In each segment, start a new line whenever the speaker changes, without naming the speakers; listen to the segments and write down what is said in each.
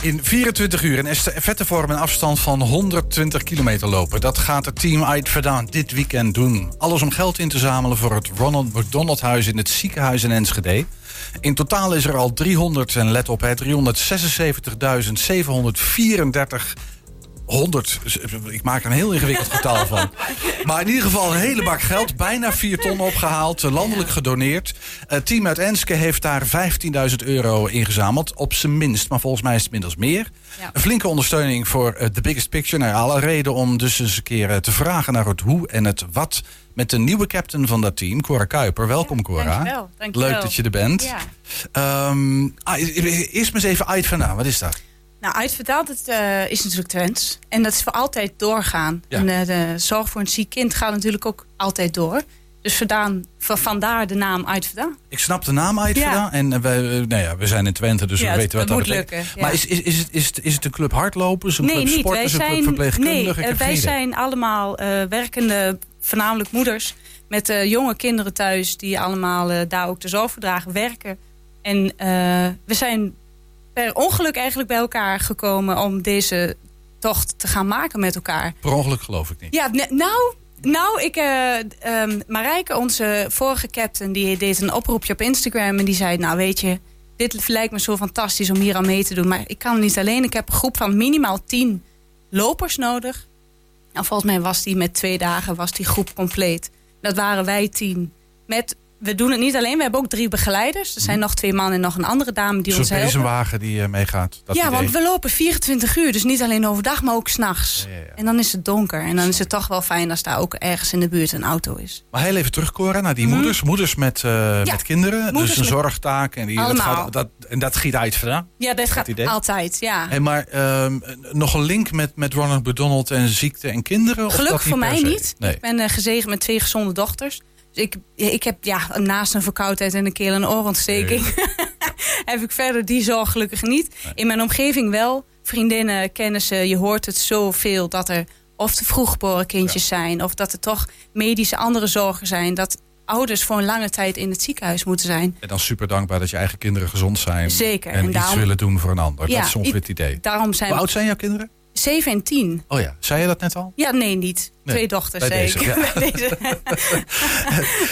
in 24 uur in estafettevorm een afstand van 120 kilometer lopen. Dat gaat het team Ait Verdaan dit weekend doen. Alles om geld in te zamelen voor het Ronald McDonald Huis in het ziekenhuis in Enschede. In totaal is er al 300, en let op, hè, 376.734 100. Ik maak er een heel ingewikkeld getal van. Maar in ieder geval een hele bak geld. Bijna 4 ton opgehaald. eh, Landelijk gedoneerd. Het team uit Enske heeft daar 15.000 euro ingezameld. Op zijn minst. Maar volgens mij is het inmiddels meer.
Ja.
Een flinke ondersteuning voor eh, The Biggest Picture. Naar alle reden om dus eens een keer eh, te vragen naar het hoe en het wat. Met de nieuwe captain van dat team, Cora Kuiper. Welkom, Cora.
dankjewel, dankjewel.
Leuk dat je er bent.
Ja.
Ehm, ah, e- e- eerst maar eens even uit vandaan. Wat is dat?
Nou, uitvertaald het, eh, is natuurlijk Twents. En dat is voor altijd doorgaan.
Ja.
En eh, de zorg voor een ziek kind gaat natuurlijk ook altijd door. Dus vandaan, van, vandaar de naam uitverdaan.
Ik snap de naam uit
Ja.
vandaan. En eh, wij, eh, nou ja, we zijn in Twente, dus
Ja,
we
het-
weten wat
het
dat
moet
betekent.
lukken, ja.
Maar is, is, is, het, is, het, is het een club hardlopers, een
Nee,
club
niet. Wij
sporters, een club
zijn, nee,
verpleegkundigen? Ik
eh,
heb
wij
geen idee.
zijn allemaal eh, werkende, voornamelijk moeders... met eh, jonge kinderen thuis die allemaal eh, daar ook de zorg voor dragen, werken. En eh, we zijn per ongeluk eigenlijk bij elkaar gekomen... om deze tocht te gaan maken met elkaar.
Per ongeluk geloof ik niet.
Ja, ne- nou, nou ik, eh, ehm, Marijke, onze vorige captain, die deed een oproepje op Instagram. En die zei, nou weet je, dit lijkt me zo fantastisch om hier aan mee te doen. Maar ik kan niet alleen. Ik heb een groep van minimaal tien lopers nodig. En volgens mij was die met twee dagen was die groep compleet. Dat waren wij tien. Met, we doen het niet alleen, we hebben ook drie begeleiders. Er zijn nog twee mannen en nog een andere dame
Mhm.
die
Zo'n
ons helpen.
bezemwagen die eh, meegaat. Dat
ja,
idee.
want we lopen 24 uur. Dus niet alleen overdag, maar ook s'nachts.
Ja, ja, ja.
En dan is het donker. En dan is het toch wel fijn als daar ook ergens in de buurt een auto is.
Maar heel even terug, Cora, naar die
Mhm.
moeders. Moeders met, eh, met kinderen,
moeders
dus een
met-
zorgtaak. En, die, dat,
Allemaal.
gaat, dat, en dat giet uit vandaan.
Ja, dat gaat
idee.
altijd. Ja.
Hey, maar ehm, nog een link met, met Ronald McDonald en ziekte en kinderen? Of dat
Gelukkig
niet
voor
per
mij
se?
niet.
Nee.
Ik ben eh, gezegend met twee gezonde dochters. Dus ik, ik heb ja, naast een verkoudheid en een keel- en oorontsteking... heb ik verder die zorg gelukkig niet. In mijn omgeving wel. Vriendinnen, kennissen, je hoort het zoveel dat er of te vroeg geboren kindjes zijn... of dat er toch medische andere zorgen zijn... dat ouders voor een lange tijd in het ziekenhuis moeten zijn.
En dan super dankbaar dat je eigen kinderen gezond zijn.
Zeker,
En,
en
iets
daarom-
willen doen voor een ander.
Ja,
dat is ongeveer
i-
het idee.
Daarom zijn
Hoe
we
oud zijn jouw kinderen?
7 en 10.
Oh ja, zei je dat net al?
Ja, nee, niet.
Nee,
Twee dochters,
bij
zei
deze,
ik. Bij deze.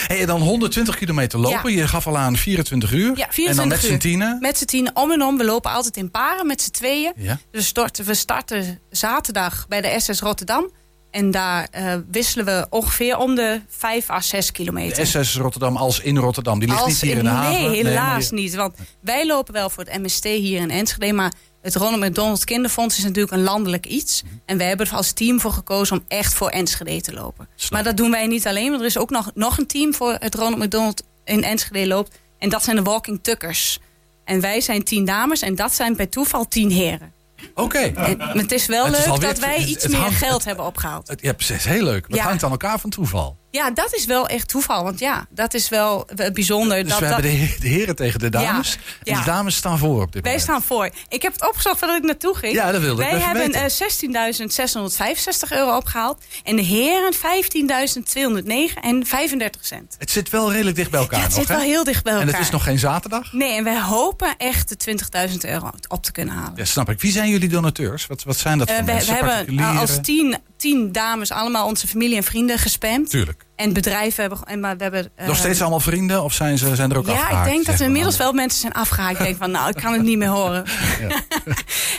Hey, en dan 120 kilometer lopen. Je gaf al aan 24 uur.
Ja,
en dan
24
met z'n
uur.
tienen.
Met z'n tien om en om. We lopen altijd in paren met z'n tweeën.
Ja.
We starten, we starten zaterdag bij de SS Rotterdam. En daar eh, wisselen we ongeveer om de 5 à 6
De
kilometer.
SS Rotterdam als in Rotterdam. Die ligt niet hier in de
nee,
haven. maar
helaas
die-
niet. Want wij lopen wel voor het MST hier in Enschede. Maar het Ronald McDonald Kinderfonds is natuurlijk een landelijk iets.
Mhm.
En wij hebben er als team voor gekozen om echt voor Enschede te lopen.
Snap
Maar
ik.
dat doen wij niet alleen. Want er is ook nog, nog een team voor het Ronald McDonald in Enschede loopt. En dat zijn de Walking Tuckers. En wij zijn tien dames en dat zijn bij toeval tien heren.
Oké.
En, maar het is wel
Het is
leuk
alweer-
dat wij
het-
iets
het
meer
hangt-
geld hebben opgehaald.
Het- Ja, precies. Heel leuk. Maar Het
Ja.
hangt aan elkaar van toeval.
Ja, dat is wel echt toeval. Want ja, dat is wel eh, bijzonder.
Dus
dat,
we
dat...
hebben de he- de heren tegen de dames. En
ja.
de dames staan voor op dit
Wij
moment.
staan voor. Ik heb het opgezocht voordat ik naartoe ging.
Ja, dat wilde ik
Wij
even
hebben
weten.
eh, 16.665 euro opgehaald. En de heren 15.209 en 35 cent.
Het zit wel redelijk dicht bij elkaar
Ja, het
nog.
zit
hè?
wel heel dicht bij elkaar.
En het is nog geen zaterdag.
Nee, en wij hopen echt de 20.000 euro op te kunnen halen.
Ja, snap ik. Wie zijn jullie donateurs? Wat, wat zijn dat
Eh,
voor
we, we
mensen?
hebben
Particulieren?
eh, als tien, tien dames allemaal onze familie en vrienden gespamd.
Tuurlijk.
En bedrijven hebben... ge- En maar we hebben eh,
Nog steeds allemaal vrienden? Of zijn, ze, zijn er ook
ja,
afgehaakt?
ik denk
zeg
dat er
maar?
inmiddels wel mensen zijn afgehaakt. Ik denk van, nou, ik kan het niet meer horen.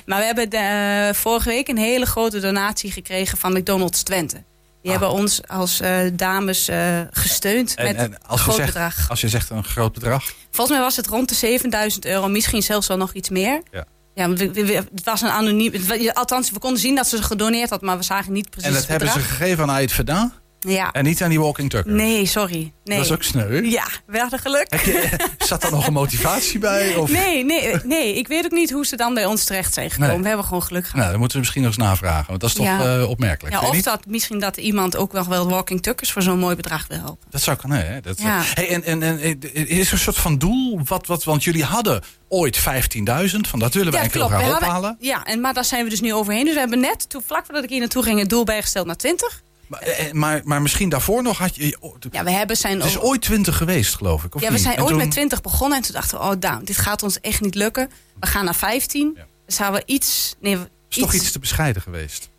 maar we hebben eh, vorige week een hele grote donatie gekregen van McDonald's Twente. Die
Ah.
hebben ons als eh, dames eh, gesteund
En,
met
en
een
als, je
groot
zegt,
bedrag.
als je zegt een groot bedrag.
Volgens mij was het rond de 7000 euro, misschien zelfs wel nog iets meer.
Ja.
Ja, want we- we- we- het was een anoniem... het wa- Althans, we konden zien dat ze gedoneerd had, maar we zagen niet precies
en dat
het
hebben
bedrag.
ze gegeven aan Ait Verdaan.
Ja.
En niet aan die Walking Tucker.
Nee, sorry. Nee.
Dat is ook sneu.
Ja, we hadden geluk.
Heb je- Zat daar nog een motivatie bij? Of?
Nee, nee, nee, ik weet ook niet hoe ze dan bij ons terecht zijn gekomen.
Nee.
We hebben gewoon geluk gehad.
Nou, dan moeten we misschien nog eens navragen. Want dat is toch
Ja.
eh, opmerkelijk.
Ja,
vind je
of
niet?
dat misschien dat iemand ook nog wel walking tuckers voor zo'n mooi bedrag wil helpen.
Dat zou kunnen, hè? Dat,
Ja.
hey, en, en, en en is er een soort van doel? Wat, wat, want jullie hadden ooit 15.000. Van dat willen wij een keer
We
gaan
hadden-
ophalen.
ja, en, maar daar zijn we dus nu overheen. Dus we hebben net, toen, vlak voordat ik hier naartoe ging, het doel bijgesteld naar 20.
Maar, eh, maar, maar misschien daarvoor nog had je... oh,
Ja, we hebben zijn
het is
ook-
ooit 20 geweest, geloof ik. Of
ja, we
niet?
zijn
En
ooit
toen-
met 20 begonnen en toen dachten we, oh damn, dit gaat ons echt niet lukken. We gaan naar 15.
Ja.
We Er zou wel iets... Nee,
Is toch iets te bescheiden geweest?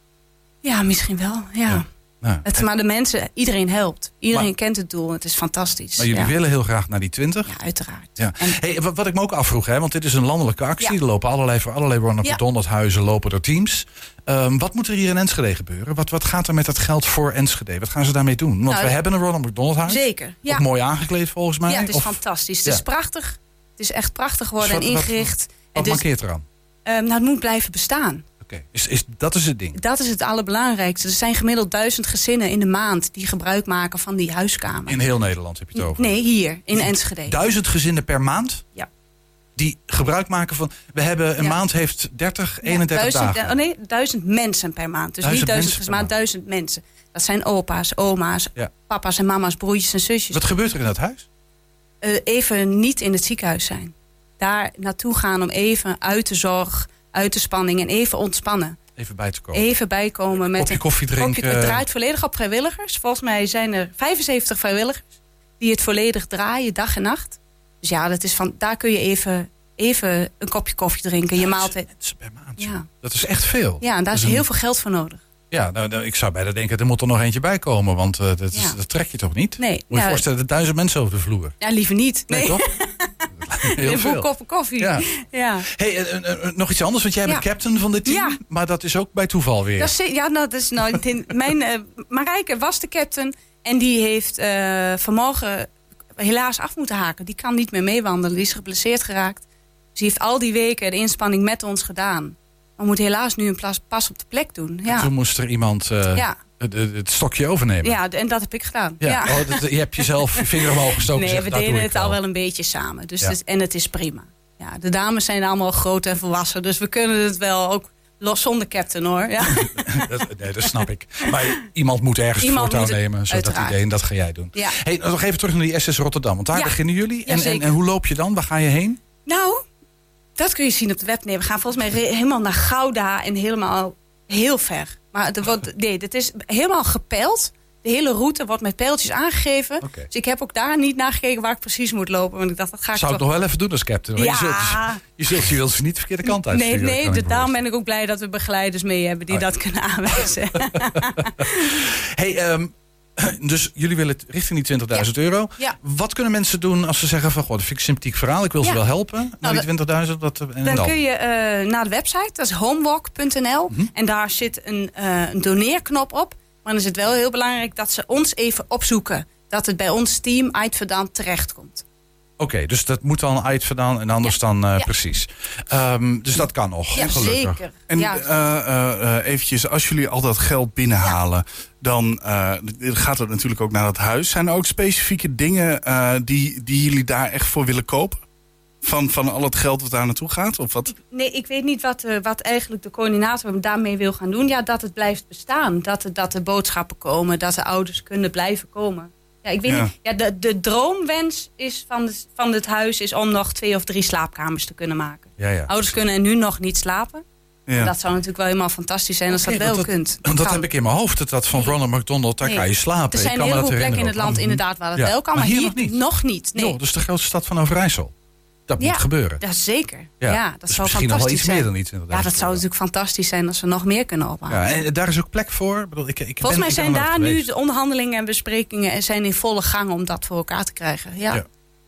Ja, misschien wel. Ja.
Ja. Nou,
Het,
en-
maar de mensen, iedereen helpt. Iedereen
Maar-
kent het doel. Het is fantastisch.
maar jullie
ja.
willen heel graag naar die 20.
ja, uiteraard.
Ja.
En-
Hey, wat, wat ik me ook afvroeg, hè, want dit is een landelijke actie.
Ja.
Er lopen allerlei, voor allerlei Run op
Ja.
de 100 huizen lopen er teams. Ehm, wat moet er hier in Enschede gebeuren? Wat, wat gaat er met dat geld voor Enschede? Wat gaan ze daarmee doen? Want
Nou,
we
dat-
hebben een Ronald McDonald huis.
Zeker. Ja.
Ook mooi aangekleed volgens mij.
ja, het is
Of
fantastisch. Het
Ja.
is prachtig. Het is echt prachtig geworden
Dus
en
wat- wat-
ingericht. en
wat
dus,
mankeert eraan?
ehm, nou, het moet blijven bestaan.
Oké, Is, is, dat is het ding.
Dat is het allerbelangrijkste. Er zijn gemiddeld duizend gezinnen in de maand die gebruik maken van die huiskamer.
In heel Nederland heb je het over.
nee, hier, in Enschede.
Duizend gezinnen per maand
Ja.
die gebruik maken van... We hebben een
Ja.
maand heeft 30,
Ja,
31
duizend,
dagen.
Oh nee, duizend mensen per maand. Dus
Duizend
niet duizend
mensen per
gezinnen, maar
maand.
duizend mensen. Dat zijn opa's, oma's,
Ja.
papa's en mama's, broertjes en zusjes.
Wat gebeurt er in dat huis?
Eh, even niet in het ziekenhuis zijn. Daar naartoe gaan om even uit de zorg, uit de spanning en even ontspannen.
Even bij te komen.
Even bijkomen met
Kopje
een
koffie drinken.
Het draait volledig op vrijwilligers. Volgens mij zijn er 75 vrijwilligers die het volledig draaien, dag en nacht. Dus ja, dat is van, daar kun je even, even een kopje koffie drinken, je
Duizend
maaltijd.
mensen per maand.
Ja.
Dat is echt veel.
ja, en daar is
Dat is
heel
dus- een-
veel geld voor nodig.
Ja, nou, nou, ik zou bijna denken, er moet er nog eentje bij komen. Want eh, dat, is,
Ja.
dat trek je toch niet?
Nee,
Moet je je
nou,
voorstellen, dat duizend mensen over de vloer.
ja, liever niet. Nee,
toch? Heel
een boel
veel.
koppen koffie.
Ja.
Ja. Ja.
Hey, eh, eh, eh, nog iets anders, want jij bent
Ja.
captain van dit team.
Ja.
Maar dat is ook bij toeval weer.
Dat is, ja, nou, dat is nou, niet in- mijn, eh, Marijke was de captain en die heeft eh, vanmorgen helaas af moeten haken. Die kan niet meer meewandelen, die is geblesseerd geraakt. Dus die heeft al die weken de inspanning met ons gedaan. Maar moet helaas nu een plas, pas op de plek doen. Ja,
Toen moest er iemand eh,
ja,
het, het- het stokje overnemen.
ja d- en dat heb ik gedaan.
Ja.
Ja.
Oh, dat- je hebt jezelf je vinger omhoog gestoken. en
Nee,
gezegd,
we
dat doe
deden
ik
het al wel een beetje samen. Dus
Ja.
het is- en het is prima. Ja, de dames zijn allemaal groot en volwassen, dus we kunnen het wel ook los zonder captain hoor. Ja.
Dat, nee, dat snap ik. Maar iemand moet ergens
Iemand
het voortouw
moet het-
nemen. Zodat
uiteraard.
idee, en dat ga jij doen.
Ja.
Hey, nog even terug naar die SS Rotterdam. Want daar
Ja.
beginnen jullie. En, en,
Jazeker.
en hoe loop je dan? Waar ga je heen?
Nou, dat kun je zien op de web. Nee, we gaan volgens mij re- helemaal naar Gouda en helemaal heel ver. Maar er wordt, nee, dit is helemaal gepeild. De hele route wordt met pijltjes aangegeven.
Oké.
Dus ik heb ook daar niet naar gekeken waar ik precies moet lopen. Want ik dacht, dat ga ik
Zou ik
toch...
nog wel even doen als captain. want
ja,
Je, zult, dus- je, zult, je wilt ze niet de verkeerde kant uit.
nee,
sturen,
nee
kan ik
de,
me
daarom ben ik ook blij dat we begeleiders mee hebben die
Oh ja.
dat kunnen aanwijzen.
voorstellen. Hey, ehm, dus jullie willen het richting die 20.000 euro.
Ja.
Wat kunnen mensen doen als ze zeggen van... Goh, dat vind ik een sympathiek verhaal. Ik wil ze
Ja.
wel helpen.
Nou,
Nou, die 20.000, dat, en
Dan
Nou.
dan?
kun je eh, naar de website, dat is homewalk.nl.
Mhm.
En daar zit een, eh, een doneerknop op. Maar dan is het wel heel belangrijk dat ze ons even opzoeken. Dat het bij ons team Uitverdaan terechtkomt.
Oké, dus dat moet dan uit vandaan en anders dan eh,
Ja.
precies. Ehm, dus dat kan nog,
Ja,
gelukkig.
zeker.
Oh, En
ja,
eh, eh, eh, eventjes, als jullie al dat geld binnenhalen, dan eh, d- gaat het natuurlijk ook naar dat huis. Zijn er ook specifieke dingen eh, die, die jullie daar echt voor willen kopen? Van, van al het geld wat daar naartoe gaat? Of wat?
nee, ik weet niet wat, eh, wat eigenlijk de coördinator daarmee wil gaan doen. Ja, dat het blijft bestaan. Dat, er- dat er boodschappen komen, dat de ouders kunnen blijven komen. Ja, ik weet
Ja.
niet. Ja, de, de droomwens is van, de, van het huis is om nog twee of drie slaapkamers te kunnen maken.
Ja, ja.
Ouders kunnen er nu nog niet slapen.
Ja.
Dat zou natuurlijk wel helemaal fantastisch zijn als
Oké,
dat
want
wel
dat-
kunt.
Want dat
Kan.
heb ik in mijn hoofd, dat, dat van Ronald McDonald, daar
Nee.
kan je slapen.
Er
Ik kan
zijn een
me dat
heleboel plekken in het
herinneren
land
ook.
inderdaad waar dat
Ja,
wel kan.
maar
Maar,
hier
hier,
nog niet.
nog niet. Nee,
Joh, dat is de grootste stad van Overijssel. Dat
Ja.
moet gebeuren.
dat is zeker.
Ja,
Ja, dat
dus
zou
misschien nog wel iets
fantastisch
meer
zijn.
dan iets inderdaad.
Ja, dat zou natuurlijk fantastisch zijn als we nog meer kunnen ophalen.
Ja, en daar is ook plek voor. Ik bedoel, ik, ik ben-
Volgens mij
ik ben
zijn
nooit
daar nu
geweest.
de onderhandelingen en besprekingen en zijn in volle gang om dat voor elkaar te krijgen. Ja,
Ja.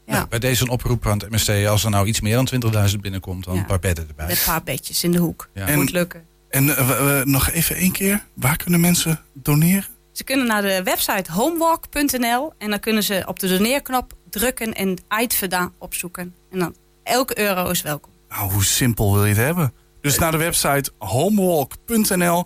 ja.
Nou, bij deze een oproep aan het MST, als er nou iets meer dan 20.000 binnenkomt, dan
Ja.
een paar bedden erbij.
Met een paar bedjes in de hoek.
Ja.
En-
Moet lukken.
En eh, we- we- nog even één keer, waar kunnen mensen doneren?
Ze kunnen naar de website homewalk.nl en dan kunnen ze op de doneerknop drukken en Eidveda opzoeken. En dan elke euro is welkom.
Nou, hoe simpel wil je het hebben? Dus naar de website homewalk.nl,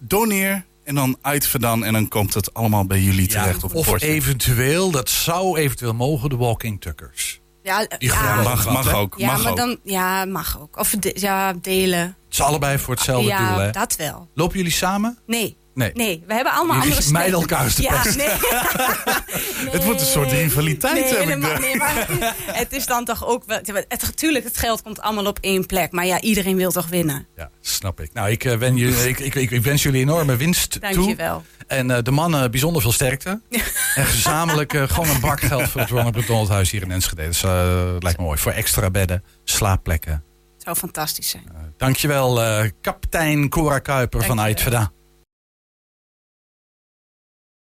doneer en dan uitverdan en dan komt het allemaal bij jullie
Ja,
terecht op het
of
bordje.
eventueel, dat zou eventueel mogen, de Walking Tuckers.
Ja,
Die
ja,
gewoon
Mag, mag ook,
ja,
mag
maar
ook.
dan ja, mag ook. Of de- ja, delen.
Het is allebei voor hetzelfde
ja,
doel, hè?
dat wel.
Lopen jullie samen?
Nee,
Nee.
nee, we hebben allemaal
Jullie
andere
mijden
steden.
elkaar te
Ja,
pesten.
nee.
Het wordt een soort rivaliteit,
Nee,
heb ik
helemaal-
daar.
nee, maar het is dan toch ook wel. Het, tuurlijk, het geld komt allemaal op één plek. Maar ja, iedereen wil toch winnen.
Ja, snap ik. Nou, ik, eh, wen jullie, ik, ik, ik, ik wens jullie enorme winst
Dank
toe.
je wel.
En eh, de mannen bijzonder veel sterkte. en gezamenlijk eh, gewoon een bak geld voor het Ronald McDonald Huis hier in Enschede. Dus eh, dat lijkt me mooi. Voor extra bedden, slaapplekken. zou fantastisch zijn.
Dankjewel, eh kapitein Cora Kuiper van
Dankjewel.
Aitveda.